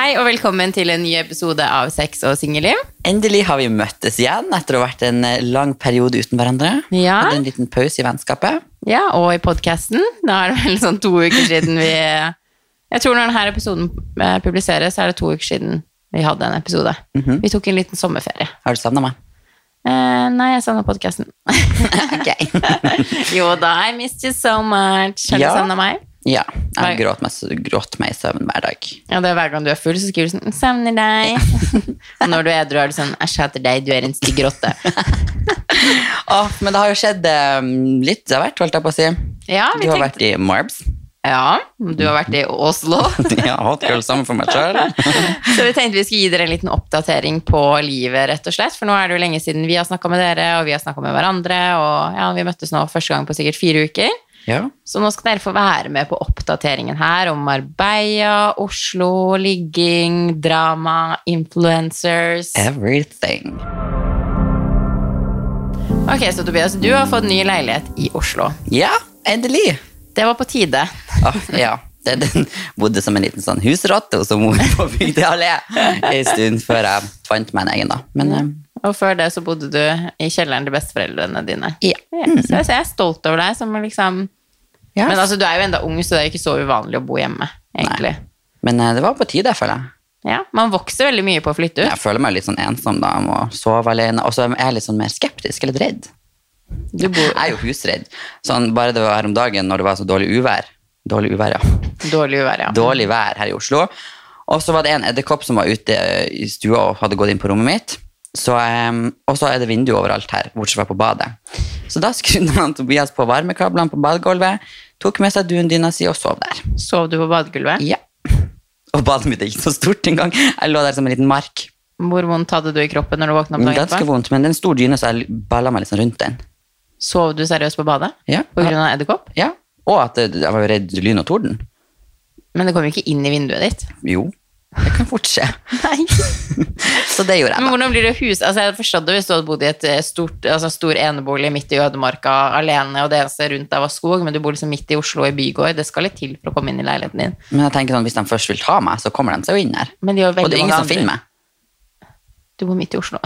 Hei og velkommen til en ny episode av Sex og singelliv. Endelig har vi møttes igjen etter å ha vært en eh, lang periode uten hverandre. Ja. Hadde en liten pause i vennskapet. Ja, og i podkasten. Da er det vel sånn to uker siden vi Jeg tror når denne episoden eh, publiseres, så er det to uker siden vi hadde en episode. Mhm. Vi tok en liten sommerferie. Har du savna meg? Eh, nei, jeg savna podkasten. jo da, I missed you so much. Har du Ja. savna meg? Ja. Nei. Jeg gråt meg, gråt meg i søvn hver dag. Ja, det er Hver gang du er full, så skriver du sånn 'Savner deg'. og når du er edru, er du sånn 'Æsj, jeg hater deg, du er en stygg rotte'. Åh, men det har jo skjedd eh, litt av hvert, holdt jeg på å si. Ja, vi du har tenkte vært i Marbs. Ja, du har vært i Oslo. ja, hot girl sammen for meg sjøl. Så vi tenkte vi skulle gi dere en liten oppdatering på livet, rett og slett. For nå er det jo lenge siden vi har snakka med dere, og vi har snakka med hverandre. Og ja, vi møttes nå første gang på sikkert fire uker. ja. Så nå skal dere få være med på oppdateringen her om Marbella, Oslo, ligging, drama, influencers. Everything. Ok, så Tobias, du har fått ny leilighet i Oslo. Ja, endelig. Det var på tide. Åh, ja. Det, den bodde som en liten sånn husrotte hos mor på Bygdøyallé en stund før jeg fant meg en egen, da. Men eh, Og før det så bodde du i kjelleren til besteforeldrene dine. Ja. Så jeg så jeg er stolt over deg som liksom Ja. Men altså, du er jo enda ung, så det er jo ikke så uvanlig å bo hjemme, egentlig. Men eh, det var på tide, føler jeg. Ja, Man vokser veldig mye på å flytte ut. Jeg føler meg litt sånn ensom da, jeg må sove alene. Og så er jeg litt sånn mer skeptisk, eller redd. Du bor Jeg er jo husredd. Sånn, bare det var her om dagen når det var så dårlig uvær. Dårlig uvær, ja. dårlig uvær, ja. Dårlig vær her i Oslo. Og så var det en edderkopp som var ute eh, i stua og hadde gått inn på rommet mitt. Så, eh, og så er det vindu overalt her, bortsett fra på badet. Så da skrudde han Tobias på varmekablene på badegulvet, tok med seg dundyna si og sov der. Sov du på badegulvet? Ja. Og badet mitt er ikke så stort engang. Jeg lå der som en liten mark. Hvor vondt hadde du i kroppen når du våkna opp dagen Ganske etterpå? vondt, men det er en stor dyne, så jeg balla meg liksom rundt den. Sov du seriøst på badet? Ja. På grunn av edderkopp? ja. Og at det- jeg var jo redd lyn og torden. Men det kom jo ikke inn i vinduet ditt. Jo, det kan fort skje. Nei. Så det gjorde Men jeg, da. hvordan blir det hus? Altså, jeg hadde forstått det hvis du hadde bodd i et eh, stort, altså, stor enebolig midt i ødemarka alene, og det eneste rundt deg var skog, men du bor liksom midt i Oslo i bygård. Det skal litt til for å komme inn i leiligheten din. Men jeg tenker sånn, hvis de først vil ta meg, så kommer de seg jo inn her. Men de har veldig Og det er mange ingen som andre. finner meg. Du bor midt i Oslo.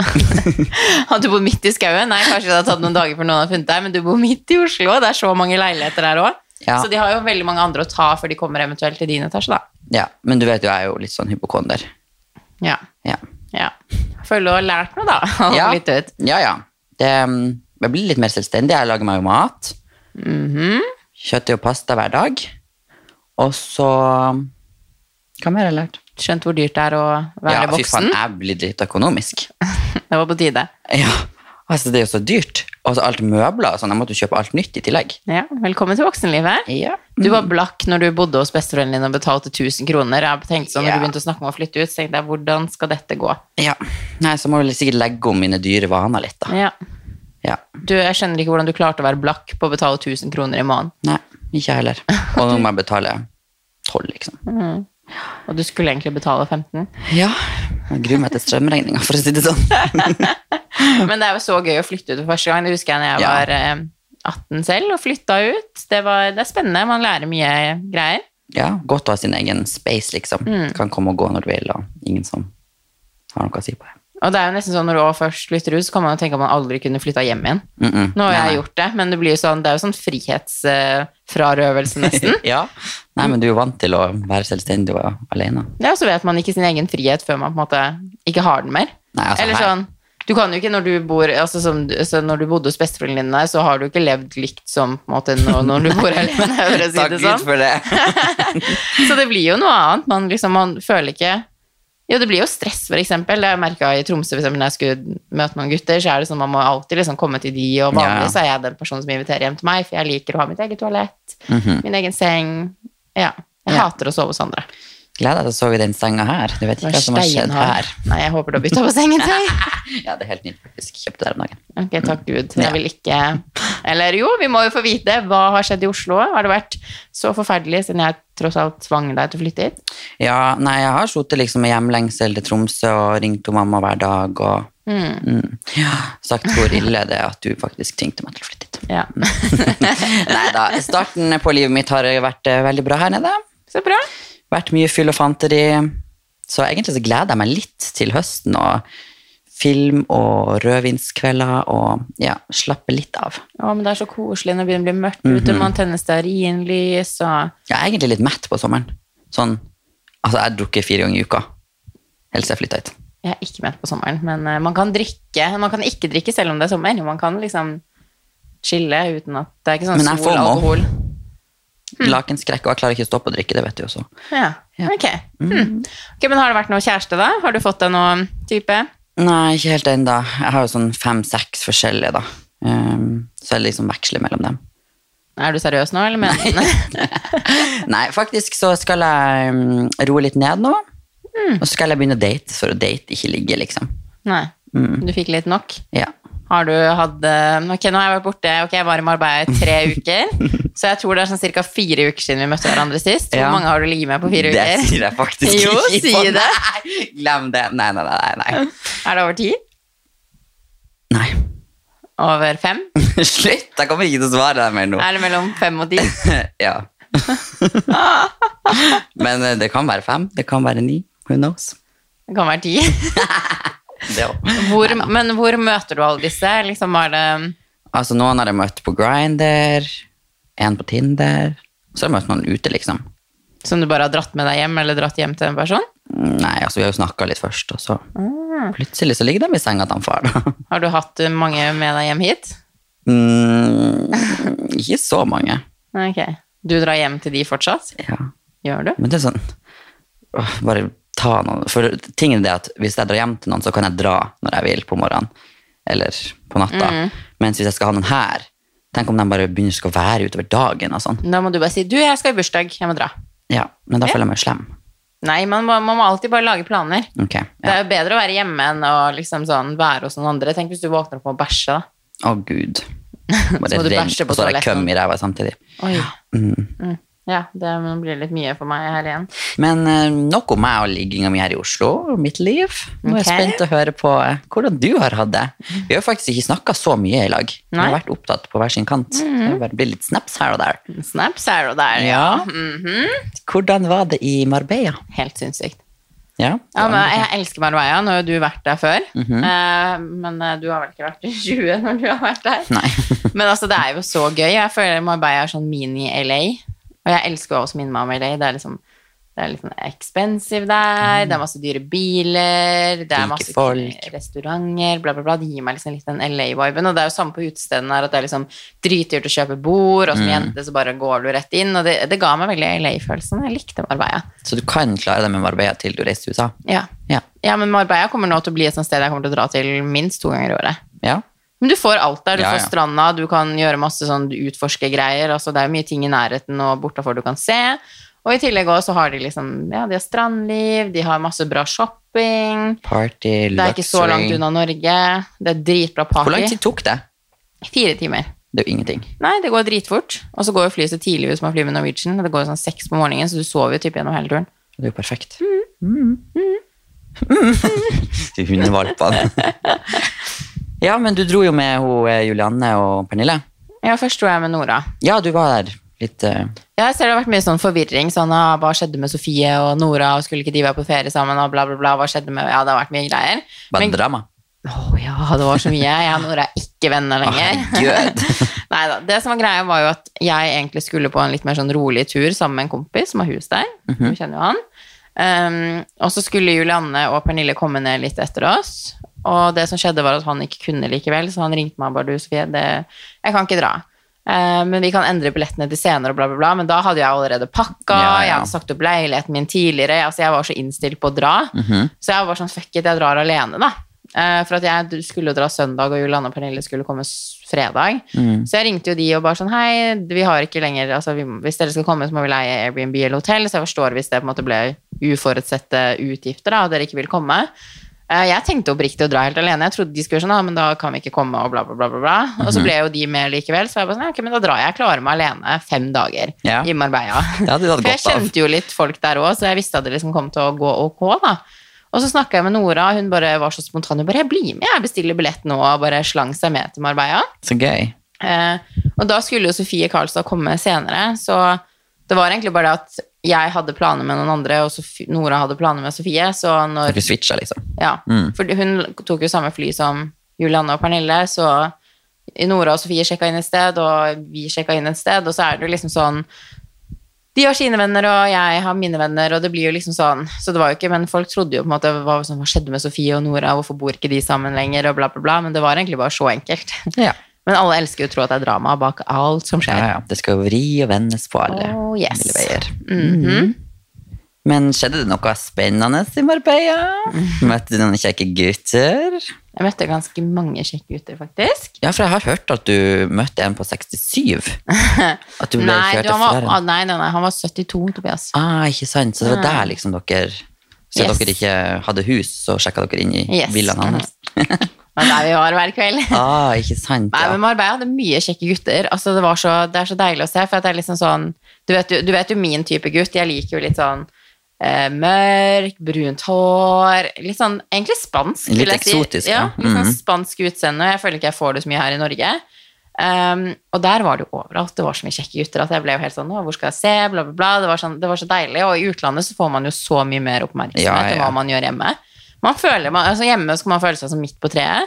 Hadde du bodd midt i skauen? Nei, kanskje det hadde tatt noen dager før noen hadde funnet deg, men du bor midt i Oslo, og det er så mange leiligheter her òg. Ja. Så de har jo veldig mange andre å ta før de kommer eventuelt til din etasje, da. Ja, men du vet jo, jeg er jo litt sånn hypokonder. Ja. Ja, ja. Føler du har lært noe, da. og ja. litt ut. ja. ja. Det, um, jeg blir litt mer selvstendig. Jeg lager meg jo mat. Mhm. Kjøttdeig og pasta hver dag. Og så Hva mer har jeg lært? Skjønt hvor dyrt det er å være Ja, fy faen, voksen. jeg blir litt økonomisk. Det var på tide. Ja, altså det er jo så dyrt. Og så alt møbler og sånn. Jeg måtte jo kjøpe alt nytt i tillegg. Ja, velkommen til voksenlivet. Ja. Du var blakk når du bodde hos besteforeldrene dine og betalte 1000 kroner. Jeg tenkte sånn, når Ja. du begynte å snakke om å flytte ut, så tenkte jeg hvordan skal dette gå? Nei, så må jeg vel sikkert legge om mine dyre vaner litt, da. Ja. Ja. Du, jeg skjønner ikke hvordan du klarte å være blakk på å betale 1000 kroner i måneden. Nei, ikke jeg heller. Og nå må jeg betale tolv, liksom. Og du skulle egentlig betale 15. Ja. Jeg gruer meg til strømregninga, for å si det sånn. Men det er jo så gøy å flytte ut for første gang. Det husker jeg når jeg Ja. var eh, 18 selv og flytta ut. Det, var, det er spennende. Man lærer mye greier. Ja, Godt å ha sin egen space, liksom. Mm. Kan komme og gå når du vil, og ingen som har noe å si på det. Og det er jo nesten sånn når du også først flytter ut, så kan man jo tenke at man aldri kunne flytta hjem igjen. Mm -mm. Nå har Nei, jeg gjort det, men det, blir jo sånn, det er jo sånn frihetsfrarøvelse, nesten. nei. Ja. Nei, men du er jo vant til å være selvstendig og alene. Ja, så vet man ikke sin egen frihet før man på en måte ikke har den mer. Nei, altså, Eller her- sånn, du kan jo ikke når du bor altså, som, så Når du bodde hos besteforeldrene dine, så har du ikke levd likt som på en måte, nå, når du bor alene, for å si Takk det Gud sånn. for det. Så det blir jo noe annet. Man, liksom, man føler ikke Jo, det blir jo stress, for eksempel. Det har jeg merka i Tromsø for eksempel, når jeg skulle møte noen gutter, så er det sånn man må alltid liksom komme til de, og Ja. vanligvis er jeg den personen som inviterer hjem til meg, for jeg liker å ha mitt eget toalett, Mhm. min egen seng. Ja. Jeg Ja. hater å sove hos andre. Gleder deg til å sove i den senga her. Du vet ikke hva som har skjedd her. Nei, jeg håper du har bytta på sengetøy. Ja, det er helt nytt faktisk. Kjøpte der om dagen. Ok, takk Gud. Ja. Jeg vil ikke Eller jo, vi må jo få vite hva har skjedd i Oslo. Har det vært så forferdelig siden jeg tross alt tvang deg til å flytte hit? Ja, nei, jeg har sittet liksom med hjemlengsel til Tromsø og ringt til mamma hver dag og mm. ja, sagt hvor ille det er at du faktisk tvingte meg til å flytte hit. Ja. Nei da, starten på livet mitt har vært eh, veldig bra her nede. Så bra. Vært mye fyll og fanteri. Så egentlig så gleder jeg meg litt til høsten og film og rødvinskvelder og ja, slappe litt av. Å, men det er så koselig når det begynner å bli mørkt ute, Mhm. man tenner stearinlys og Jeg er egentlig litt mett på sommeren. Sånn, altså jeg drukker fire ganger i uka. Helt til jeg flytta hit. Jeg er ikke med på sommeren, men eh, man kan drikke. Man kan ikke drikke selv om det er sommer. Man kan liksom chille uten at Det er ikke sånn Men jeg sol får og nå. alkohol. Mm. Lakenskrekk, og jeg klarer ikke å stoppe å drikke det, vet du også. Ja. Ja. Mhm. Ok. Hmm. ok. Men har det vært noe kjæreste, da? Har du fått deg noen type? Nei, ikke helt ennå. Jeg har jo sånn fem-seks forskjellige, da. Ehm, så jeg liksom veksler mellom dem. Er du seriøs nå, eller mener du Nei, faktisk så skal jeg mm, roe litt ned nå. Mm. Og så skal jeg begynne å date, for å date ikke ligge, liksom. Nei. Mhm. Du fikk litt nok? Ja. Har du hatt eh, Ok, nå har jeg vært borte. Ok, jeg var i Marbella i tre uker. Så jeg tror det er sånn ca. fire uker siden vi møtte hverandre sist. Hvor Ja. mange har du ligget med på fire Det uker? sier jeg faktisk Jo, ikke. si det. Nei, glem det. Nei, nei, nei. Nei. Er det over ti? nei. Over fem? Slutt! Jeg kommer ikke til å svare deg mer nå. Er det mellom fem og ti? Ja. Men eh, det kan være fem, det kan være ni. Who knows? Det kan være ti. Det også. Hvor, men hvor møter du alle disse? Liksom er det altså, noen har jeg møtt på Grindr, en på Tinder. Så har jeg møtt noen ute, liksom. som du bare har dratt med deg hjem, eller dratt hjem til en person? Nei, altså, vi har jo snakka litt først, og så plutselig så ligger de i senga til han far, da. Har du hatt eh, mange med deg hjem hit? Mm, ikke så mange. Ok. Du drar hjem til de fortsatt? Ja. Gjør du? Men det er sånn åh, Bare ta noen For tingen er det at hvis jeg drar hjem til noen, så kan jeg dra når jeg vil på morgenen. Eller på natta. Mm. Mens hvis jeg skal ha noen her, tenk om de bare begynner å skal være utover dagen og sånn. Da må du bare si 'du, jeg skal i bursdag, jeg må dra'. Ja, men da føler jeg meg slem. Nei, man må, man må alltid bare lage planer. Ok. Det Ja. er jo bedre å være hjemme enn å liksom sånn være hos noen andre. Tenk hvis du våkner opp og må bæsje, da. Å, gud. Bare må du ring, bæsje på og så har jeg toaletten. køm i ræva samtidig. Oi. Mm. Ja, det nå blir det litt mye for meg her igjen. Men eh, nok om meg og ligginga mi her i Oslo og mitt liv. Nå er Ok. jeg spent å høre på eh, hvordan du har hatt det. Vi har jo faktisk ikke snakka så mye i lag. Vi har Nei. Mm. vært opptatt på hver sin kant. Det har bare blitt litt snaps her og der. Snaps er jo der, Ja. Mhm. Hvordan var det i Marbella? Helt sinnssykt. Ja, Ja, men jeg elsker Marbella. Nå har jo du vært der før. Eh, men eh, du har vel ikke vært i 20 når du har vært der? Nei. men altså, det er jo så gøy. Jeg føler Marbella er sånn mini-LA. Og jeg elsker også minne meg om LA. Det er liksom det er litt sånn expensive der, det er masse dyre biler, det er Rike masse folk. restauranter, bla, bla, bla. Det gir meg liksom litt den LA-viben. Og det er jo samme på utestedene her, at det er liksom dritdyrt å kjøpe bord, og som jente så bare går du rett inn. Og det, det ga meg veldig LA-følelsen. Jeg likte Marbella. Så du kan klare deg med Marbella til du reiser til USA? Ja. Ja. Ja, men Marbella kommer nå til å bli et sånt sted jeg kommer til å dra til minst to ganger i året. ja. Men du får alt der. Du Ja, ja. får stranda, du kan gjøre masse sånn utforskegreier. Altså, det er mye ting i nærheten og bortafor du kan se. Og i tillegg også så har de liksom Ja, de har strandliv, de har masse bra shopping. Party, luxury Det er ikke så langt unna Norge. Det er dritbra Hvor lang party. tid tok det? Fire timer. Det er jo ingenting. Nei, det går dritfort. Og så går jo flyet så tidlig hvis man flyr med Norwegian. Det går jo sånn seks på morgenen, så du sover jo typ gjennom hele turen. Det er jo perfekt. Mm. De hundevalpene. ja, men du dro jo med ho, eh, Julianne og Pernille. Ja, først dro jeg med Nora. Ja, du var der litt eh, Ja, jeg ser det har vært mye sånn forvirring. Sånn, ah, hva skjedde med Sofie og Nora, og skulle ikke de være på ferie sammen, og bla, bla, bla. Hva skjedde med Ja, det har vært mye greier. Bare drama. Å ja, det var så mye. Jeg og Nora er ikke venner lenger. Herregud. Neida, Det som var greia, var jo at jeg egentlig skulle på en litt mer sånn rolig tur sammen med en kompis som har hus der. Mhm. Du kjenner jo han. Um, og så skulle Julianne og Pernille komme ned litt etter oss. Og det som skjedde, var at han ikke kunne likevel, så han ringte meg og bare du, Sofie, det, jeg kan ikke dra. Eh, men vi kan endre billettene til senere, og bla, bla, bla. Men da hadde jeg allerede pakka, Ja, ja. jeg hadde sagt opp leiligheten min tidligere. Altså, jeg var så innstilt på å dra. Mm. Mhm, Så jeg var sånn fuck it, jeg drar alene, da. Eh, for at jeg skulle dra søndag, og Julianne og Pernille skulle komme s- fredag. mhm. Så jeg ringte jo de og bare sånn hei, vi har ikke lenger altså, vi, Hvis dere skal komme, så må vi leie Airbnb eller hotell. Så jeg forstår hvis det på en måte ble uforutsette utgifter, da, og dere ikke vil komme. Eh, Jeg tenkte oppriktig å dra helt alene. Jeg trodde de skulle være sånn, «Ah, men da kan vi ikke komme, og bla, bla, bla. bla, bla. Og Mhm. så ble jo de med likevel, så jeg bare sånn, «Ja, ok, men da drar jeg. Jeg klarer meg alene fem dager Ja. i Marbella. Det hadde du hatt For jeg godt av. kjente jo litt folk der òg, så jeg visste at det liksom kom til å gå ok, da. Og så snakka jeg med Nora, og hun bare var så spontan. Hun bare 'jeg blir med, jeg bestiller billett nå', og bare slang seg med til Marbella. Så gøy. Eh, og da skulle jo Sofie Karlstad komme senere, så det var egentlig bare det at jeg hadde planer med noen andre, og Sof- Nora hadde planer med Sofie. Så når Dere switcha, liksom. Ja, for hun tok jo samme fly som Julianne og Pernille, så Nora og Sofie sjekka inn et sted, og vi sjekka inn et sted, og så er det jo liksom sånn De har sine venner, og jeg har mine venner, og det blir jo liksom sånn Så det var jo ikke Men folk trodde jo på en måte hva, sånn, hva skjedde med Sofie og Nora, hvorfor bor ikke de sammen lenger, og bla, bla, bla, men det var egentlig bare så enkelt. Ja. Men alle elsker jo å tro at det er drama bak alt som Ja, skjer. ja. Det skal jo vri og vendes på alle Oh, yes. ville veier. Mhm. Men skjedde det noe spennende i Marbella? Møtte du noen kjekke gutter? Jeg møtte ganske mange kjekke gutter, faktisk. Ja, for jeg har hørt at du møtte en på 67. At du ble Nei, kjørt du, han var, etter ah, nei, nei, nei, han var 72, Tobias. Ah, ikke sant. Så det var Nei. der liksom dere Så Yes. dere ikke hadde hus, så sjekka dere inn i Yes. villaen hans. Det var der vi var hver kveld. Ah, ikke sant. Nei, Ja. men Marbella hadde mye kjekke gutter. Altså, det, var så, det er så deilig å se, for at det er liksom sånn Du vet jo, du vet jo min type gutt. Jeg liker jo litt sånn eh, mørk, brunt hår Litt sånn egentlig spansk, Litt vil jeg eksotisk, si. Ja, ja. litt sånn Mhm. spansk utseende. Jeg føler ikke jeg får det så mye her i Norge. Um, og der var det jo overalt. Det var så mye kjekke gutter at jeg ble jo helt sånn Å, hvor skal jeg se? Bla, bla, bla. Det var, sånn, det var så deilig. Og i utlandet så får man jo så mye mer oppmerksomhet Ja, enn ja. hva man gjør hjemme. Man føler, man, altså hjemme skal man føle seg som midt på treet.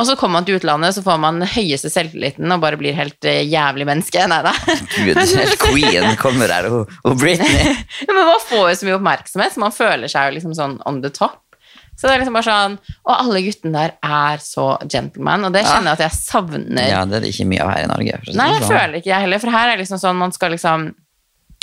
Og så kommer man til utlandet, så får man den høyeste selvtilliten og bare blir helt eh, jævlig menneske. Nei da. Gud, helt queen kommer her, og, og Britney. Men man får jo så mye oppmerksomhet, så man føler seg jo liksom sånn on the top. Så det er liksom bare sånn Og alle guttene der er så gentleman, og det kjenner jeg at jeg savner. Ja, det er det ikke mye av her i Norge. for å si Nei, det jeg sånn. føler ikke det heller, for her er det liksom sånn man skal liksom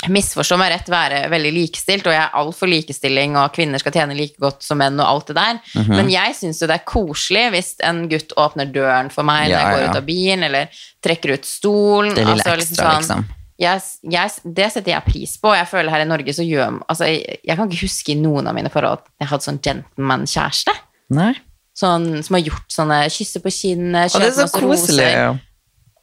misforstå meg rett, være veldig likestilt, og jeg er all for likestilling, og kvinner skal tjene like godt som menn, og alt det der. Mhm. Men jeg syns jo det er koselig hvis en gutt åpner døren for meg Ja, når jeg går ja. ut av bilen, eller trekker ut stolen. Det lille altså, ekstra, liksom. Jeg, jeg, det setter jeg pris på, og jeg føler her i Norge så gjør Altså, jeg, jeg kan ikke huske i noen av mine forhold at jeg hadde sånn gentleman-kjæreste. Nei. Sånn, som har gjort sånne kysser på kinnet, Og det er kjøper så masse koselig. roser.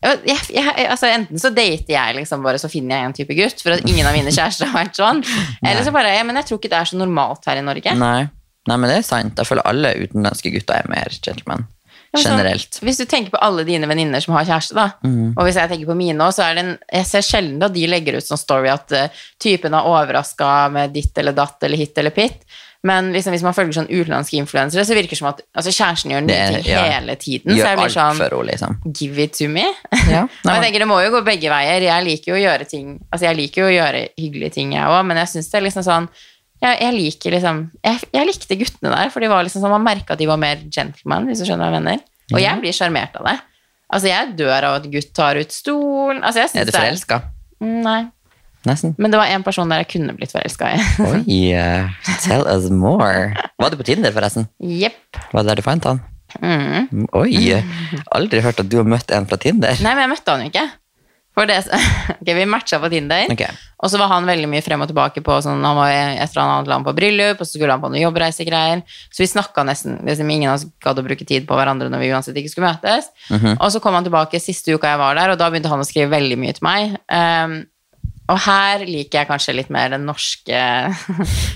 Ja, jeg, jeg, altså enten så dater jeg liksom bare, så finner jeg en type gutt, for at ingen av mine kjærester har vært sånn. Eller så bare, ja, men jeg tror ikke det er så normalt her i Norge. Nei. Nei, men det er sant. Jeg føler alle utenlandske gutter er mer gentleman. Ja, men sånn, Generelt. Mm. Hvis du tenker på alle dine venninner som har kjæreste, da, og hvis jeg tenker på mine òg, så er det en Jeg ser sjelden at de legger ut sånn story at eh, typen er overraska med ditt eller datt eller hit eller pitt. Men liksom, hvis man følger sånn utenlandske influensere, så virker det som at altså, kjæresten gjør nye Det er- ting ja. hele tiden. så Gjør jeg blir alt sånn for henne, liksom. Give it to me. og Ja. Nei, jeg men- tenker Det må jo gå begge veier. Jeg liker jo å gjøre ting Altså jeg liker jo å gjøre hyggelige ting, jeg òg, men jeg syns det er liksom sånn jeg, jeg liker liksom jeg, jeg likte guttene der, for de var liksom sånn, man merka at de var mer gentleman, hvis du skjønner hva jeg mener. Og jeg blir sjarmert av det. Altså Jeg dør av at gutt tar ut stolen altså, jeg synes Er du forelska? Det er, nei. Nesten. Men det var en person der jeg kunne blitt forelska i. Oi, eh, tell us more. Var du på Tinder, forresten? Jepp. Var det der du fant han? Mm. Oi! Aldri hørt at du har møtt en fra Tinder. Nei, men jeg møtte han jo ikke. For det, ok, Vi matcha på Tinder. Ok. Og så var han veldig mye frem og tilbake på sånn, han var, etter han hadde land på bryllup, og så skulle han på noen jobbreisegreier. Så vi snakka nesten liksom Ingen av oss gadd å bruke tid på hverandre når vi uansett ikke skulle møtes. Mhm. Og så kom han tilbake siste uka jeg var der, og da begynte han å skrive veldig mye til meg. Ehm, og her liker jeg kanskje litt mer den norske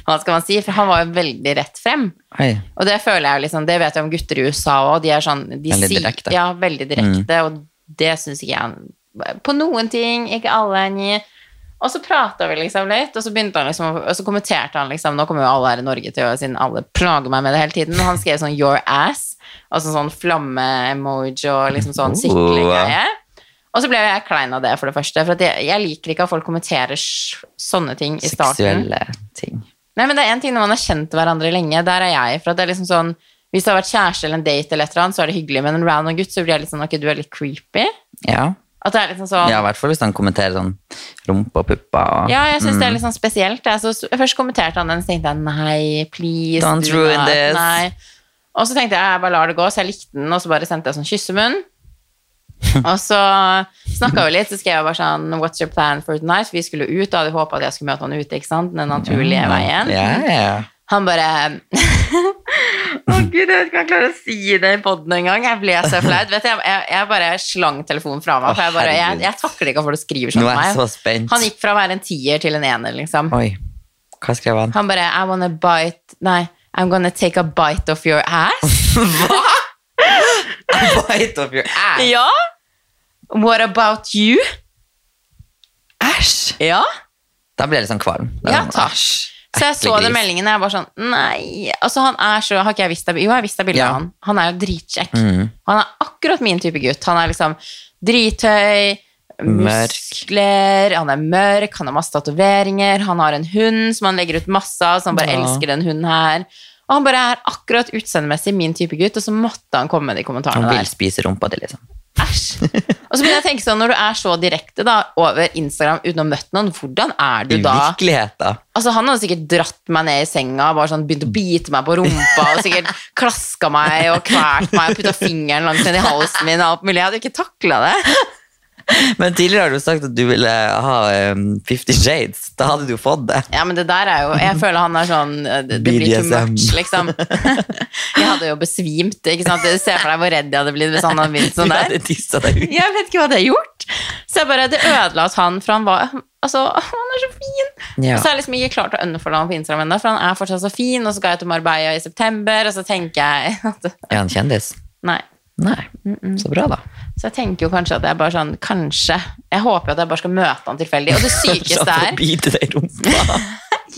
Hva skal man si? For han var jo veldig rett frem. Oi. Og det føler jeg jo liksom, det vet jeg om gutter i USA òg. De er sånn de Veldig sier- direkte. Mm. Ja, veldig direkte, og det syns ikke jeg På noen ting, ikke alle. Ni. Og så prata vi liksom litt, og så begynte han liksom, å- og så kommenterte han liksom Nå kommer jo alle her i Norge til å siden alle plager meg med det hele tiden. Og han skrev sånn 'your ass', altså sånn flamme-emoji og liksom sånn siklegreie. Og så ble jo jeg klein av det, for det første. For at jeg, jeg liker ikke at folk kommenterer s- sånne ting i starten. Seksuelle ting. Nei, men det er en ting når man har kjent hverandre lenge. Der er jeg. For at det er liksom sånn Hvis det har vært kjæreste eller en date, eller et eller annet, så er det hyggelig. Men en random gutt, så blir jeg litt sånn Ok, du er litt creepy. Ja. At det er liksom sånn ja, Ja, i hvert fall hvis han kommenterer sånn rumpe og pupper og jeg syns Mm. det er litt sånn spesielt. jeg. Så s- først kommenterte han den, så tenkte jeg nei, please. Don't du, ruin nei, this. Nei. Og så tenkte jeg jeg bare lar det gå, så jeg likte den, og så bare sendte jeg sånn kyssemunn. og så snakka vi litt, så skrev jeg bare sånn What's your plan for tonight? For vi skulle ut, da hadde jeg håpa at jeg skulle møte han ute, ikke sant? Den naturlige veien. Mm. Ja, ja. Han bare Å gud, jeg vet ikke om jeg klarer å si det i poden engang. Jeg ble så flaut. Vet du, jeg, jeg, jeg bare slang telefonen fra meg. Å, For jeg, bare, jeg, herregud. jeg takler ikke at folk skriver sånn Nå til er jeg meg. så spent. Han gikk fra å være en tier til en ener, liksom. Oi. Hva skrev han? Han bare I wanna bite Nei, I'm gonna take a bite of your ass. Bite of your ass! ja? What about you? Æsj! Ja? Da blir jeg litt sånn kvalm. Da Ja, er det sånn, takk. æsj, Så jeg så ekkel den gris. meldingen, og jeg var sånn Nei. Altså, han er så Har ikke jeg visst deg Jo, jeg har visst deg bildet Ja. Mm. av han. Han er jo dritkjekk. Han er akkurat min type gutt. Han er liksom drithøy, Mørk. muskler, han er mørk, han har masse tatoveringer, han har en hund som han legger ut masse av, så han bare Ja. elsker den hunden her. Og han bare er akkurat utseendemessig min type gutt, og så måtte han komme med de Han kommentarene vil der. spise rumpa di, liksom. Æsj! Og så begynner jeg å tenke sånn, når du er så direkte da, over Instagram uten å ha møtt noen, hvordan er du I da? virkeligheten. Altså, han hadde sikkert dratt meg ned i senga, bare sånn, begynt å bite meg på rumpa, og sikkert klaska meg og kvært meg og putta fingeren langt ned i halsen min. og alt mulig. Jeg hadde jo ikke takla det. Men tidligere har du sagt at du ville ha um, 50 Shades. Da hadde du fått det. Ja, men det der er jo, Jeg føler han er sånn eh, Det, det blir too BDSM. much, liksom. Jeg hadde jo besvimt. ikke sant? Se for deg hvor redd jeg hadde blitt hvis han hadde begynt sånn du der. hadde tisset deg ut. Jeg vet ikke hva det har gjort. Så jeg bare, Det ødela at han, for han var Altså, han er så fin! Ja. Og så har jeg liksom ikke klart å unfolde ham på Instagram ennå, for han er fortsatt så fin, og så skal jeg til Marbella i september, og så tenker jeg at Er han kjendis? Nei. Nei. Så bra, da. Så jeg tenker jo kanskje at jeg bare sånn Kanskje. Jeg håper jo at jeg bare skal møte han tilfeldig. Og det Slapp sykeste å er bite deg i rumpa.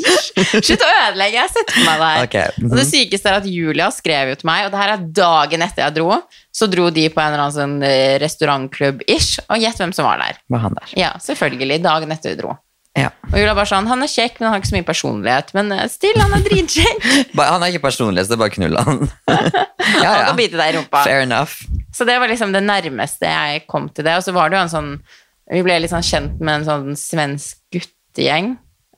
Slutt å ødelegge! Jeg setter meg der. Ok, mhm. Og det sykeste er at Julia skrev jo til meg, og det her er dagen etter jeg dro. Så dro de på en eller annen sånn eh, restaurantklubb-ish, og gjett hvem som var der. Var han der. Ja, selvfølgelig. Dagen etter vi dro. Ja. Og Julia bare sånn Han er kjekk, men han har ikke så mye personlighet. Men eh, still, han er dritkjekk! Bare- Han er ikke personlig, så det er bare å knulle han. Han ja, kan ja. bite deg i rumpa. Fair enough. Så det var liksom det nærmeste jeg kom til det. Og så var det jo en sånn Vi ble litt sånn kjent med en sånn svensk guttegjeng.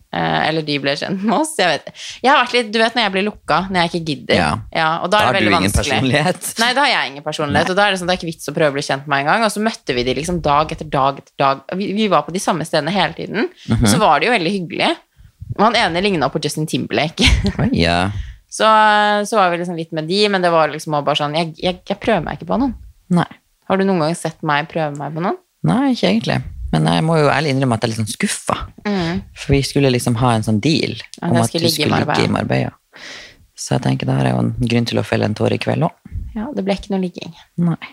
Eh, eller de ble kjent med oss. Jeg vet Jeg har vært litt, Du vet når jeg blir lukka, når jeg ikke gidder. Ja. og da Da er har det du veldig ingen vanskelig. personlighet. Nei, da har jeg ingen personlighet. Og da er det sånn, det er ikke vits å prøve å bli kjent med meg engang. Og så møtte vi de liksom dag etter dag etter dag. Vi, vi var på de samme stedene hele tiden. Mhm. Så var det jo veldig hyggelig. Og han ene ligna på Justin Timberlake. Oi, ja. så, så var vi liksom litt med de, men det var liksom også bare sånn jeg, jeg, jeg prøver meg ikke på noen. Nei. Har du noen gang sett meg prøve meg på noen? Nei, ikke egentlig. Men jeg må jo ærlig innrømme at jeg er litt sånn skuffa. For vi skulle liksom ha en sånn deal At om jeg at skulle du ligge i skulle ligge Marbella. i Marbella. Så jeg tenker da har jeg jo en grunn til å felle en tåre i kveld òg. Ja, det ble ikke noe ligging. Nei.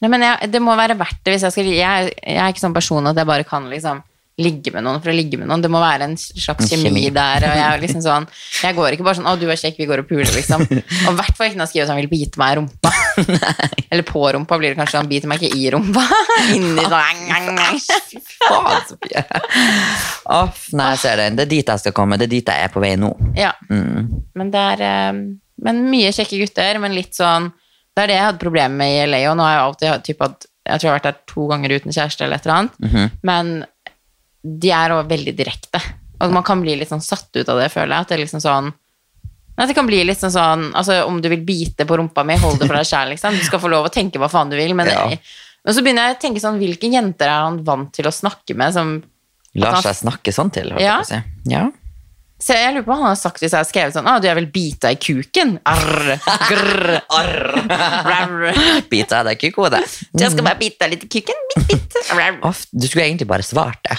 Nei, men jeg, det må være verdt det. Hvis jeg, skal, jeg, jeg er ikke sånn person at jeg bare kan liksom ligge med noen for å ligge med noen. Det må være en slags En kjemi, kjemi. der. Og jeg, er liksom sånn, jeg går ikke bare sånn 'Å, du er kjekk, vi går og puler', liksom. Og i hvert fall ikke når han skriver at han vil bite meg i rumpa. Eller på rumpa blir det kanskje. Han biter meg ikke i rumpa. Inni sånn Faen, Sofie! Off, nei, jeg ser den. Det er dit jeg skal komme. Det er dit jeg er på vei nå. Ja. Mm. Men det er eh, men mye kjekke gutter, men litt sånn Det er det jeg hadde problemer med i LA, og nå har jeg alltid hatt typ at Jeg tror jeg har vært der to ganger uten kjæreste eller et eller annet, men de er også veldig direkte. Og man kan bli litt sånn satt ut av det, føler jeg. At det er liksom sånn Nei, det kan bli litt sånn sånn Altså, om du vil bite på rumpa mi, hold det for deg sjæl, liksom. Du skal få lov å tenke hva faen du vil, men Ja. Men så begynner jeg å tenke sånn Hvilke jenter er han vant til å snakke med som Lar At han- seg snakke sånn til, holdt Ja. jeg på å si. Ja. Så jeg lurer på hva han har sagt hvis jeg har skrevet sånn Å, du, jeg vil bite deg i kuken. Arr, grr, arr. Biter jeg deg ikke i hodet? Jeg Mm. skal bare bite deg litt i kuken. Bitt, bitt. Arr. Å, Off, du skulle egentlig bare svart det.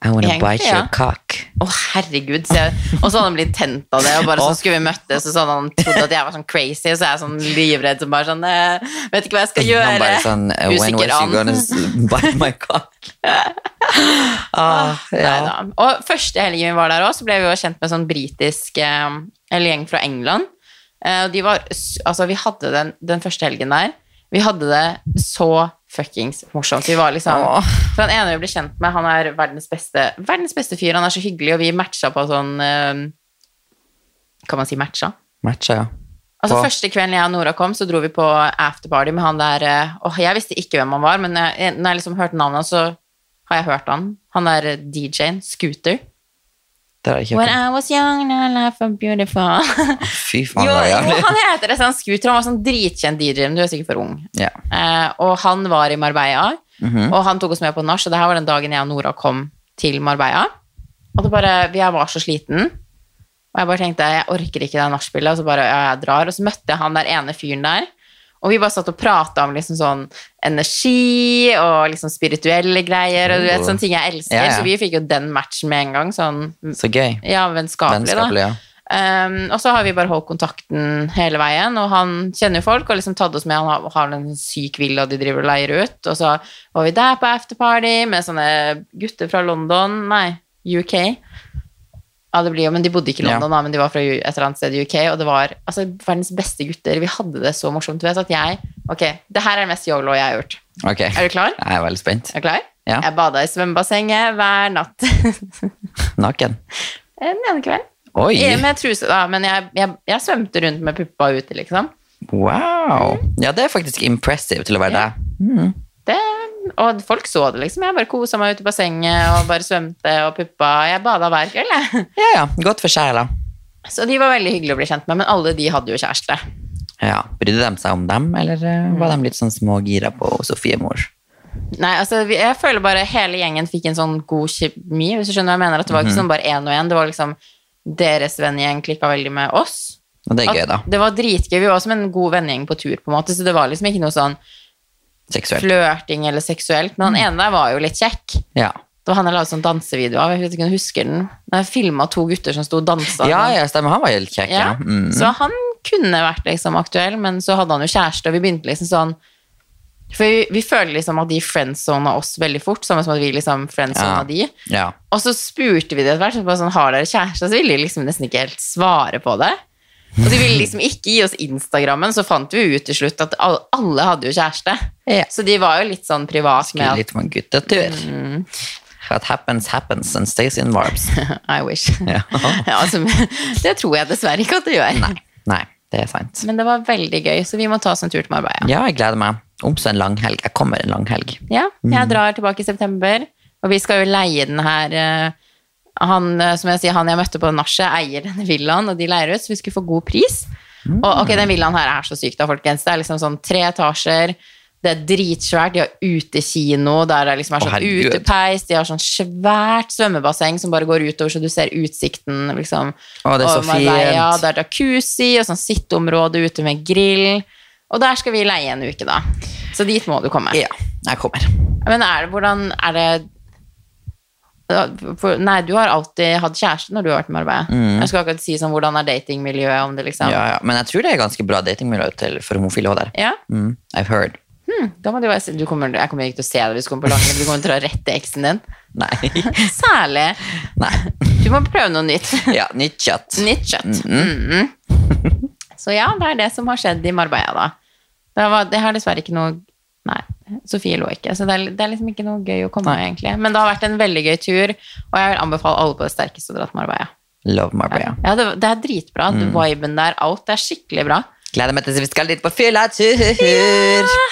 I wanna Egentlig, bite ja. your cock. herregud. Så jeg, og så hadde han blitt tent av det, og bare så skulle vi møttes, og så hadde han trodd at jeg var sånn crazy, så er jeg sånn livredd som bare sånn eh, Vet ikke hva jeg skal Han gjøre. bare sånn eh, When was you gonna s- bite my cock? Ah, ja. Neida. Og første helgen vi var der også, så ble vi jo kjent med sånn britisk eh, eller gjeng fra England. Eh, og de var, s- altså vi hadde den, den første helgen der, vi hadde det så fuckings morsomt. Vi var liksom, Åh. for han ene vi ble kjent med, han er verdens beste, verdens beste fyr, han er så hyggelig, og vi matcha på sånn, eh, kan man si matcha? Matcha, ja. Altså På- Første kvelden jeg og Nora kom, så dro vi på afterparty med han der eh, Åh, Jeg visste ikke hvem han var, men jeg, når jeg liksom hørte navnet hans, så har jeg hørt han. Han er eh, DJ-en. Scooter. Det har jeg ikke When hørt. I was young, my life was beautiful. Fy jo, faen, det jo, var jævlig. han heter det, sånn Scooter. Han var sånn dritkjent DJ, men du er sikkert for ung. Ja. Mhm. Eh, og han var i Marbella, Mm. og han tok oss med på nach, og det her var den dagen jeg og Nora kom til Marbella. Og det bare, jeg var så sliten, og jeg bare tenkte, jeg orker ikke det nachspillet, og så bare, ja, jeg drar. Og så møtte jeg han der ene fyren der, og vi bare satt og pratet om liksom sånn energi, og liksom spirituelle greier, og du vet, sånne ting jeg elsker. Mm. Ja, ja. Så vi fikk jo den matchen med en gang, sånn, Så gøy. ja, vennskapelig da. Vennskapelig, ja. Um, og så har vi bare holdt kontakten hele veien, og han kjenner jo folk og liksom tatt oss med. Han har, har en syk villa de driver og leier ut, og så var vi der på afterparty med sånne gutter fra London Nei, UK. Ja, det blir jo, men De bodde ikke i Ja. London, da, men de var fra U- et eller annet sted i UK. Og det var altså, verdens beste gutter. Vi hadde det så morsomt. Du vet at jeg, ok, Det her er det mest yolo jeg har gjort. Ok, Er jeg du klar? er veldig spent. Er du klar? Ja. Jeg bada i svømmebassenget hver natt. Eh, Naken. Den ene kvelden. Oi, Jeg- Med truse, da, men jeg, jeg, jeg svømte rundt med puppa ute, liksom. wow. Ja, det er faktisk impressive til å være Mhm. Ja. deg. Det, og folk så det, liksom. Jeg bare kosa meg ute i bassenget og bare svømte og puppa. Jeg bada hver kveld, jeg. Ja, ja, godt for sjela. Så de var veldig hyggelige å bli kjent med, men alle de hadde jo kjæreste. Ja, brydde de seg om dem, eller eh, Mhm. var de litt sånn smågira på Sofie Mor? Nei, altså, vi- jeg føler bare hele gjengen fikk en sånn god kjemi, hvis du skjønner hva jeg mener. At det var ikke Mhm. sånn bare én og én. Det var liksom deres vennegjeng klikka veldig med oss. Og det er gøy, da. At det var dritgøy. Vi var som en god vennegjeng på tur, på en måte, så det var liksom ikke noe sånn Seksuelt. flørting eller seksuelt. Men han Mhm. ene der var jo litt kjekk. Ja. Det var han jeg la ut sånn dansevideo av. Jeg vet ikke om du husker den. Da jeg filma to gutter som sto og dansa. ja, ja, stemmer. Han var helt kjekk. Ja. Ja. Mm. Så han kunne vært liksom aktuell, men så hadde han jo kjæreste, og vi begynte liksom sånn For vi, vi føler liksom at de friendzona oss veldig fort, samme som at vi liksom friendzona Ja. de. ja. Og så spurte vi det etter hvert, så bare sånn, har dere kjæreste? Så ville de liksom nesten ikke helt svare på det. Og de ville liksom ikke gi oss Instagrammen, så fant vi ut til slutt at al- alle hadde jo kjæreste. Ja. Så de var jo litt sånn privat Skulle med at litt på en guttetur. Mhm. What happens, happens and stays in warps. I wish. Ja. Ja, altså, det tror jeg dessverre ikke at det gjør. Nei, det er sant. Men det var veldig gøy, så vi må ta oss en tur til Marbella. Ja, jeg gleder meg. Om så en langhelg. Jeg kommer en langhelg. Ja, Mm. jeg drar tilbake i september, og vi skal jo leie den her eh, han, eh, som jeg sier, han jeg møtte på nachet, eier denne villaen, og de leier ut, så vi skulle få god pris. Mm. Og ok, den villaen her er så syk da, folkens. Det er liksom sånn tre etasjer, det er dritsvært, de har utekino, der det liksom er Å, sånn herregud. utepeis, de har sånn svært svømmebasseng som bare går utover, så du ser utsikten, liksom. Å, det er så over Marbella. fint. Det er jacuzzi, og sånn sitteområde ute med grill. Og der skal vi leie en uke da. Så dit må du komme. Ja, jeg kommer. Men er det hvordan Er det Da- for, Nei, du har alltid hatt kjæreste når du har vært med arbeidet. Jeg skal akkurat si sånn hvordan er datingmiljøet, om det liksom Ja, ja. Men jeg tror det er ganske bra datingmiljø til- for homofile også der. Ja, Mm, I've heard. da må du, være- du kommer, Jeg kommer ikke til å se deg hvis du kommer på langen. Du kommer til å dra rett til eksen din. Nei. Særlig. Nei. Du må prøve noe nytt. Ja, nytt kjøtt. Nytt kjøtt. Mhm. Så ja, det er det som har skjedd i Marbella, da. Det, var, det har dessverre ikke noe Nei, Sofie lå ikke, så det er, det er liksom ikke noe gøy å komme med, egentlig. Men det har vært en veldig gøy tur, og jeg vil anbefale alle på det sterkeste å dra til Marbella. Love Marbella. Ja, det, det er dritbra. Mm. Viben der, out, det er skikkelig bra. Gleder meg til vi skal dit på fyllatur!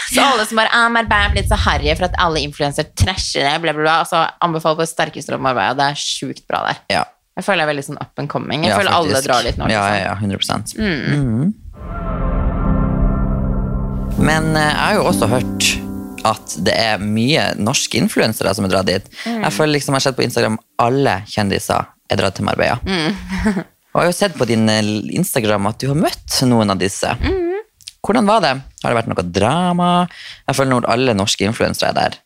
Så alle som bare er Marbella blitt så harry for at alle influensere trasher det, bla, bla, bla. Altså, anbefaler på det sterkeste om Marbella. Det er sjukt bra der. Ja. Jeg føler jeg er veldig sånn up and coming. Jeg ja, føler alle faktisk. drar litt nå. Ja, liksom. Mm. ja, ja, 100 Mhm. Men eh, jeg har jo også hørt at det er mye norske influensere som er dratt dit. Mm. Jeg føler liksom jeg har sett på Instagram alle kjendiser er dratt til Marbella. Mm. Og jeg har jo sett på din eh, Instagram at du har møtt noen av disse. Mm. Hvordan var det? Har det vært noe drama? Jeg føler når alle norske influensere er der,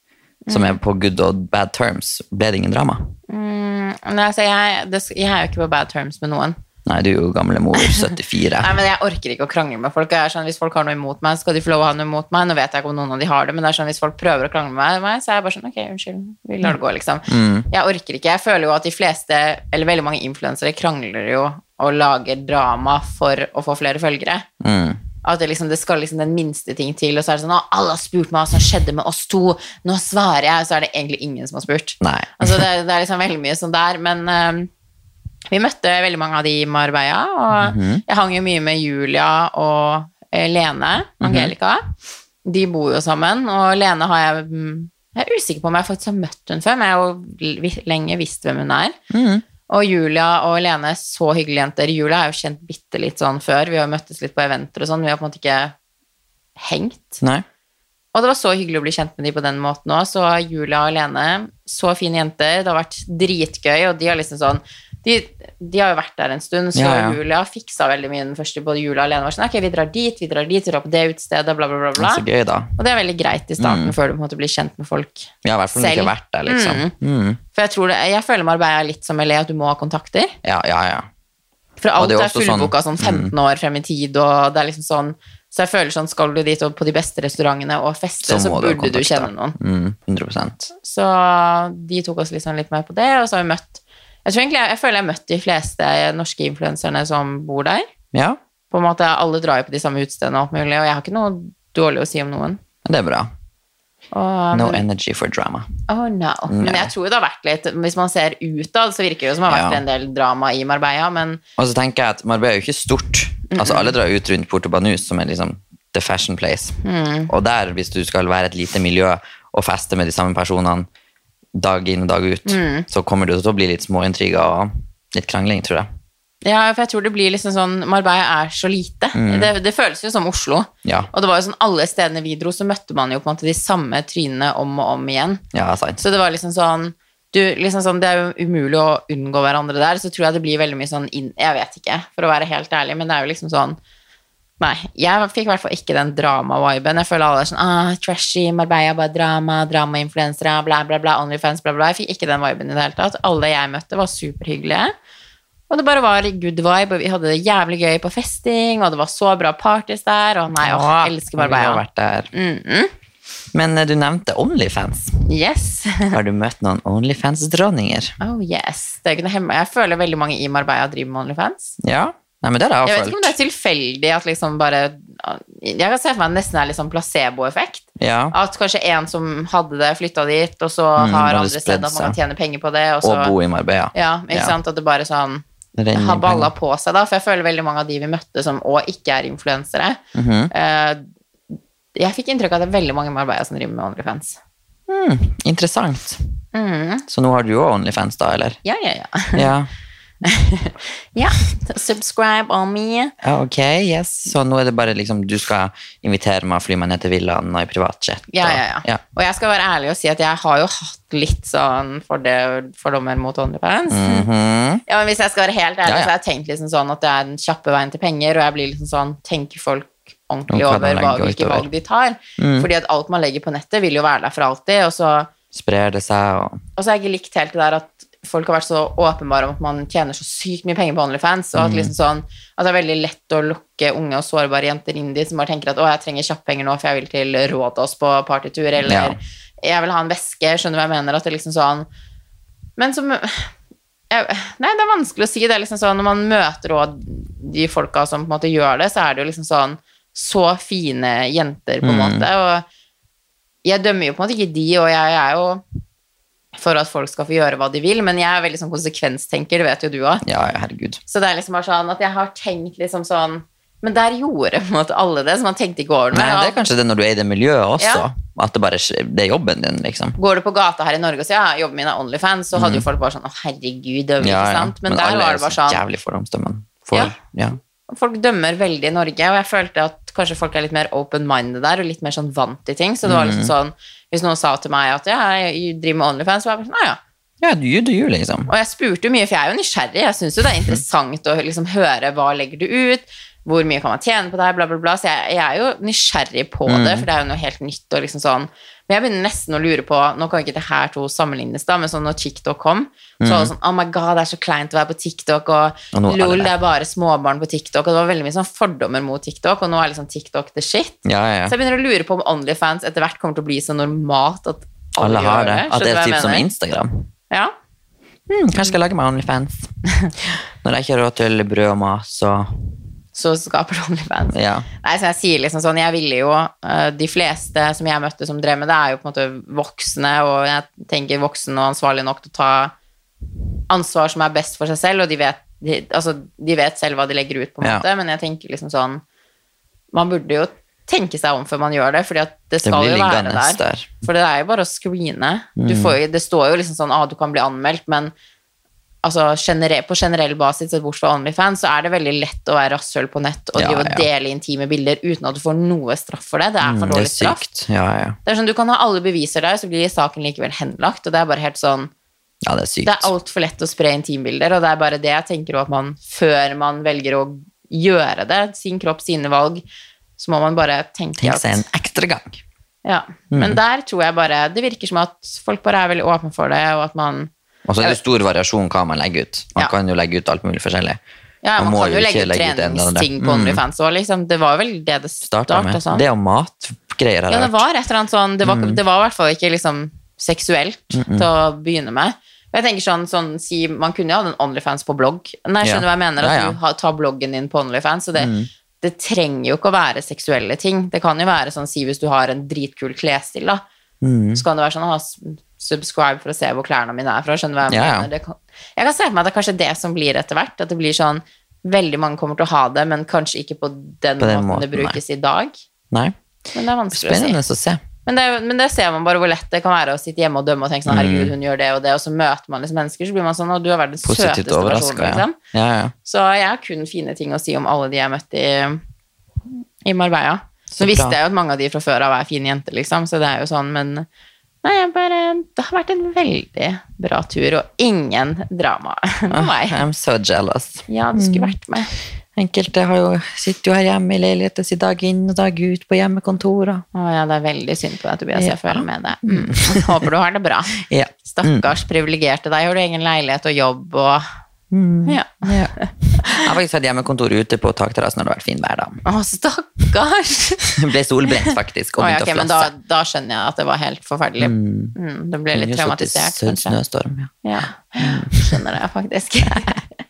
som Mm. er på good og bad terms, ble det ingen drama? Nei, altså, jeg, det, jeg er jo ikke på bad terms med noen. Nei, du er jo gamle mor, 74. Nei, men Jeg orker ikke å krangle med folk. og Jeg er sånn, hvis folk har noe imot meg, skal de få lov å ha noe imot meg. Nå vet jeg ikke om noen av de har det, men det er sånn, hvis folk prøver å krangle med meg, så er jeg bare sånn Ok, unnskyld. Vi lar det gå, liksom. Jeg orker ikke. Jeg føler jo at de fleste, eller veldig mange influensere, krangler jo og lager drama for å få flere følgere. Mm. At det, liksom, det skal liksom den minste ting til, og så er det sånn «Å, alle har spurt meg hva som skjedde med oss to, nå svarer jeg, så er det egentlig ingen som har spurt. Nei. Altså, det, er- det er liksom veldig mye sånn der, men ehm, vi møtte veldig mange av de i Marbella, og jeg hang jo mye med Julia og eh, Lene, Angelica. De bor jo sammen, og Lene har jeg mm, Jeg er usikker på om jeg faktisk har møtt hun før, men jeg har jo vi- lenge visst hvem hun er. Og Julia og Lene, så hyggelige jenter. Julia er jo kjent bitte litt sånn før, vi har jo møttes litt på eventer og sånn, vi har på en måte ikke hengt. Nei. Og det var så hyggelig å bli kjent med de på den måten òg. Så Julia og Lene, så fine jenter. Det har vært dritgøy, og de har liksom sånn de, de har jo vært der en stund, så Ja, ja. Julia fiksa veldig mye den første. Både Julia og Lene var sånn Ok, vi drar dit, vi drar dit, vi drar på det utestedet, bla, bla, bla. bla. Så gøy, Mm. da. Og det er veldig greit i starten, før du på en måte blir kjent med folk. Ja, i hvert fall om du ikke Selv. har vært der, liksom. Mm. For jeg, tror det, jeg føler Marbella er litt som LA, at du må ha kontakter. Ja, ja, ja. For Og alt det er er, også sånn- fullboka sånn 15 år frem i tid, og det er liksom sånn Så jeg føler sånn, skal du dit og på de beste restaurantene og feste, Så så, må du ha burde du kontakter. kjenne noen. Mm, 100 Så de tok oss liksom litt med på det, og så har vi møtt Jeg, tror egentlig, jeg, jeg føler jeg har møtt de fleste norske influenserne som bor der. Ja, På en måte, Alle drar jo på de samme utestedene, og alt mulig, og jeg har ikke noe dårlig å si om noen. det er bra. Og, No Mm. men- energy for drama. Oh no. Men jeg tror jo det har vært litt Hvis man ser utad, så virker det jo som det har vært Ja. en del drama i Marbella, men Og så tenker jeg at Marbella er jo ikke stort. Altså Alle drar ut rundt Porto Banus, som er liksom the fashion place. Mm. Og der, hvis du skal være et lite miljø og feste med de samme personene dag inn og dag ut, Mm. så kommer du til å bli litt småintriger og litt krangling, tror jeg. Ja, for jeg tror det blir liksom sånn Marbella er så lite. Mm. Det, det føles jo som Oslo. Ja. Og det var jo sånn alle stedene vi dro, så møtte man jo på en måte de samme trynene om og om igjen. Ja, sant. Så det var liksom sånn du, liksom sånn, Det er jo umulig å unngå hverandre der, så tror jeg det blir veldig mye sånn inn Jeg vet ikke, for å være helt ærlig, men det er jo liksom sånn Nei, jeg fikk i hvert fall ikke den drama-viben. Jeg føler alle er sånn ah, trashy, Marbella, bare drama, drama-influensere, bla, bla, bla, Onlyfans, bla, bla. Jeg fikk ikke den viben i det hele tatt. Alle jeg møtte, var superhyggelige. Og det bare var good vibe, og vi hadde det jævlig gøy på festing, og det var så bra parties der, og nei, åh, jeg elsker Vi har Marbella. Mm, vært der. Men eh, du nevnte Onlyfans. Yes. Har du møtt noen Onlyfans-dronninger? Oh yes, det er jo ikke noe hemmelig. Jeg føler veldig mange i Marbella driver med OnlyFans. Ja. Nei, men det har Jeg jeg vet ikke om det følt. er tilfeldig at liksom bare Jeg kan se for meg det nesten er litt sånn placeboeffekt. Ja. At kanskje en som hadde det, flytta dit, og så Mm, bare har andre spredd sett at man kan seg. tjene penger på det. Og så, Og bo i Marbella. Altså, ja, ikke Ja. sant? At det bare sånn Renner har inn balla på seg, da. For jeg føler veldig mange av de vi møtte som òg ikke er influensere Mm-hmm. eh, Jeg fikk inntrykk av at det er veldig mange i Marbella som driver med OnlyFans. penger. Mm, interessant. Mm. Så nå har du òg Onlyfans, da, eller? Ja, ja, ja. Ja. ja. Subscribe on me. Ja, ok, yes. Så nå er det bare liksom du skal invitere meg og fly meg ned til villaen og i privatjet. og- Ja, ja, ja, ja. Og jeg skal være ærlig og si at jeg har jo hatt litt sånn forde- fordommer mot OnlyFans. Mhm. Ja, men hvis jeg skal være helt Ja, ærlig, ja. så har jeg tenkt liksom sånn at det er den kjappe veien til penger, og jeg blir liksom sånn, tenker folk ordentlig Om hva de over hva, legger hvilke utover. valg de tar. Mm. Fordi at alt man legger på nettet vil jo være der for alltid, og så, Sprer det seg og og så har jeg ikke likt helt det der at folk har vært så åpenbare om at man tjener så sykt mye penger på OnlyFans, og at, liksom sånn, at det er veldig lett å lukke unge og sårbare jenter inn dit, som bare tenker at å, jeg trenger kjapppenger nå, for jeg vil til Rådås på partytur, eller Ja. jeg vil ha en veske, skjønner du hva jeg mener, at det liksom sånn, men som jeg, Nei, det er vanskelig å si. Det er liksom sånn, Når man møter også de folka som på en måte gjør det, så er det jo liksom sånn Så fine jenter, på en Mm. måte. Og jeg dømmer jo på en måte ikke de, og jeg, er jo for at folk skal få gjøre hva de vil, men jeg er veldig sånn konsekvenstenker, det vet jo du òg. Ja, ja, herregud. Så det er liksom bare sånn at jeg har tenkt liksom sånn Men der gjorde på en måte alle det, så man tenkte ikke over det. Nei, det er kanskje det når du er i det miljøet også. Ja. At det bare skj- det er jobben din, liksom. Går du på gata her i Norge og sier ja, jobben min er Onlyfans, så hadde jo folk bare sånn Å, herregud, det er jo ikke Mm. Ja, ja. sant? Men, der alle var er det jo bare så sånn jævlig fordomsdømmende. For, Ja. ja. ja. Folk dømmer veldig i Norge, og jeg følte at kanskje folk er litt mer open-minded der, og litt mer sånn vant til ting. Så det var liksom sånn, hvis noen sa til meg at ja, jeg driver med Onlyfans, så var jeg bare sånn, ja, ja. du gjør det, liksom. Og jeg spurte jo mye, for jeg er jo nysgjerrig. Jeg synes jo Mhm. det er interessant å liksom høre hva legger du ut, hvor mye kan man tjene på det her, bla, bla, bla. Så jeg, jeg er jo nysgjerrig på Mhm. det, for det er jo noe helt nytt og liksom sånn. Men jeg begynner nesten å lure på, nå kan jo ikke det her to sammenlignes da, men sånn når TikTok kom, så var det sånn, oh my god, det er så kleint å være på TikTok, og Og Mhm. nå er det lol, det. det er bare småbarn på TikTok, og det var veldig mye sånn fordommer mot TikTok, og nå er liksom TikTok the shit. Ja, ja, Så ja. jeg begynner å lure på om OnlyFans etter hvert kommer til å bli så normalt at alle, Alle har det. gjør At Skjønner det er du hva jeg typ som mener? Instagram. Ja. Hmm, kanskje jeg skal lage meg Onlyfans. når jeg ikke har råd til brød og mat, så Så skaper det OnlyFans. ja. Nei, så jeg sier liksom sånn, jeg ville jo eh, De fleste som jeg møtte som drev med det, er jo på en måte voksne, og jeg tenker voksen og ansvarlig nok til å ta ansvar som er best for seg selv, og de vet, de, altså, de vet selv hva de legger ut, på en Ja. måte, men jeg tenker liksom sånn Man burde jo tenke seg om før man gjør det, fordi at det Det skal blir jo være liggende der. der. For det er jo bare å screene. Du Mm. får jo, det står jo liksom sånn ah, du kan bli anmeldt, men altså, genere- på generell basis, sett bort fra OnlyFans, så er det veldig lett å være rasshøl på nett og Ja, drive ja. og dele intime bilder uten at du får noe straff for det. Det er Mm, for det er dårlig straff. sykt. Ja, ja. Det er sånn, Du kan ha alle beviser der, så blir saken likevel henlagt. og Det er bare helt sånn, ja, det er sykt. det er altfor lett å spre intimbilder, og det er bare det jeg tenker også at man, før man velger å gjøre det, sin kropp, sine valg, så må man bare tenke Tenk at seg en ekstra gang. ja, Mm. men der tror jeg bare Det virker som at folk bare er veldig åpne for det, og at man Og så er det jo stor variasjon hva man legger ut. Man Ja. kan jo legge ut alt mulig forskjellig. Ja, Man man, må kan jo jo ikke legge ut legge ut en eller annen. treningsting på Mm. OnlyFans òg, liksom. Det var vel det det Starta med. starta sånn. Det og matgreier har Ja, jeg det Mm. var et eller annet sånn Det var, det var i hvert fall ikke liksom seksuelt til å begynne med. Og Jeg tenker sånn, sånn si, Man kunne jo hatt en Onlyfans på blogg. Nei, Ja. skjønner du hva jeg mener? At Ja, Mm. ja. du har- tar bloggen din på Onlyfans. Og det, det trenger jo ikke å være seksuelle ting. Det kan jo være sånn, si hvis du har en dritkul klesstil, da. Mm. Så kan det være sånn å subscribe for å se hvor klærne mine er fra. Skjønner du hva jeg Ja, ja. mener? Det kan, jeg kan se for meg at det er kanskje det som blir etter hvert. At det blir sånn Veldig mange kommer til å ha det, men kanskje ikke på den, På den måten, det måten, nei. brukes i dag. Nei. Men det er vanskelig å si. Spennende å se. Men det, er jo- men det ser man bare hvor lett det kan være å sitte hjemme og dømme og Mm. tenke sånn, herregud, hun gjør det og det, og så møter man liksom mennesker, så blir man sånn, og du er verdens søteste Positivt person, overraska, ja. liksom. ja, ja. Så jeg har kun fine ting å si om alle de jeg møtte i, i Marbella. Så Så bra. visste jeg jo at mange av de fra før av er fine jenter, liksom, så det er jo sånn, men nei, jeg bare, det har vært en veldig bra tur, og ingen drama Ah. for meg. I'm so jealous. Ja, du Mm. skulle vært med. Enkelte har jo, sitter jo her hjemme i leiligheten sin dag inn og dag ut på hjemmekontor. Og. Å ja, det er veldig synd på deg, Tobias, jeg Ja. føler med deg. Mm. Håper du har det bra. Ja. Stakkars Mm. privilegerte deg, har du egen leilighet og jobb og Mm. Ja. Ja. Jeg har faktisk hatt hjemmekontor ute på takterrassen når det har vært fint vær. da. Å, stakkars! Ble solbrent faktisk og Å, ja, begynte ok, å men da, flasse. da skjønner jeg at det var helt forferdelig. Mm, det ble litt Kunne jo sittet i traumatisert, sø- kanskje. Snøstorm, ja. Ja, Mm. skjønner det faktisk.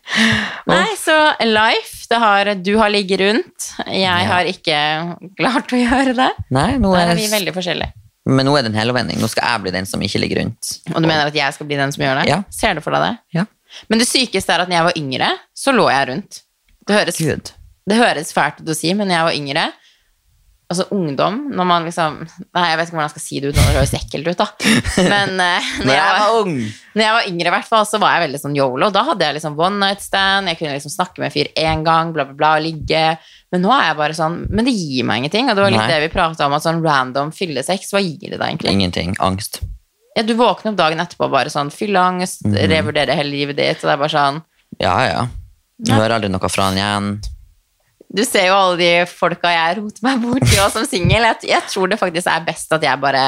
Nei, så life, det har, du har ligget rundt. Jeg har ikke klart å gjøre det. Nei, nå Der er, er vi veldig forskjellige. men nå er det en helomvending. Nå skal jeg bli den som ikke ligger rundt. Og du mener at jeg skal bli den som gjør det? Ja. Ser du for deg det? Ja. Men det sykeste er at når jeg var yngre, så lå jeg rundt. Det høres Gud. Det høres fælt ut å si, men jeg var yngre. Altså ungdom, når man liksom Nei, jeg vet ikke hvordan jeg skal si det uten at det høres ekkelt ut, da. Men eh, når, jeg var, ung. når jeg var yngre, i hvert fall, så var jeg veldig sånn yolo. Da hadde jeg liksom one night stand, jeg kunne liksom snakke med en fyr én gang, bla, bla, bla, og ligge. Men nå er jeg bare sånn Men det gir meg ingenting. Og det var litt Nei. det vi prata om, at sånn random fyllesex, hva gir det deg egentlig? Ingenting. Angst. Ja, du våkner opp dagen etterpå bare sånn fylleangst, revurderer hele livet ditt, og det er bare sånn Ja, ja. Du hører aldri noe fra han igjen. Du ser jo alle de folka jeg roter meg bort til også som singel. Jeg, jeg tror det faktisk er best at jeg bare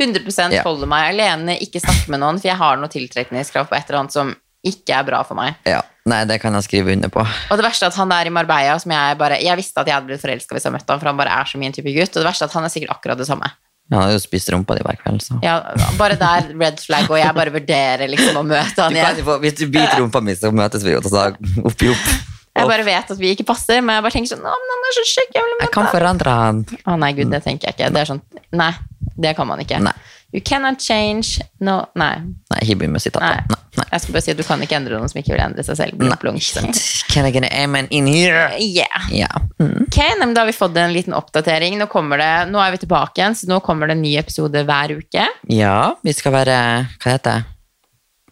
100 Ja. holder meg alene, ikke snakker med noen, for jeg har noe tiltrekningskrav på et eller annet som ikke er bra for meg. Ja. Nei, det kan jeg skrive under på. Og det verste er at han der i Marbella, som jeg bare Jeg visste at jeg hadde blitt forelska hvis jeg møtte han, for han bare er så min type gutt. Og det verste er at han er sikkert akkurat det samme. Han har jo spist rumpa di hver kveld, så. Ja, bare der, red flag, og jeg bare vurderer liksom å møte Du han kan igjen. jo få- hvis du biter rumpa mi, så møtes vi jo til dag opp i opp. Jeg bare vet at vi ikke passer, men jeg bare tenker sånn Å, men han er så kjekk, jeg vil Jeg møte kan forandre han. Å nei, gud, det tenker jeg ikke. Det er sånn, nei, det kan man ikke. Mm. Nei. You cannot change no, nei. Nei, ikke begynn med nei. sitatet. Nei. Nei. Jeg skal bare si at du kan ikke endre noen som ikke vil endre seg selv. Nei, Blunk, blunk. ikke sant. Can I get an amen in here? Yeah. Ja. Mm. Ok, nei, men da har vi fått en liten oppdatering. Nå, kommer det, nå er vi tilbake igjen, så nå kommer det en ny episode hver uke. ja, vi skal være Hva heter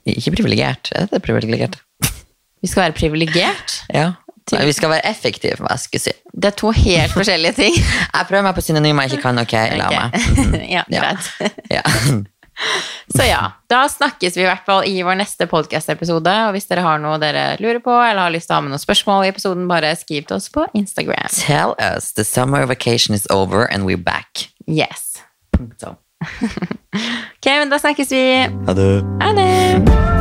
det? Ikke privilegert. Er det privilegert? Vi skal være privilegert. Ja. Nei, vi skal være effektive, hva jeg skulle si. Det er to helt forskjellige ting. Jeg prøver meg på synonymer jeg ikke kan. Ok, la Ok. meg. Mm. ja, Ja. greit. Ja. Så ja, da snakkes vi i hvert fall i vår neste podcast-episode, og hvis dere har noe dere lurer på, eller har lyst til å ha med noen spørsmål i episoden, bare skriv til oss på Instagram. Tell us the summer vacation is over and we're back. Yes. Punktum. Ok, men da snakkes vi. Ha det. Ha det!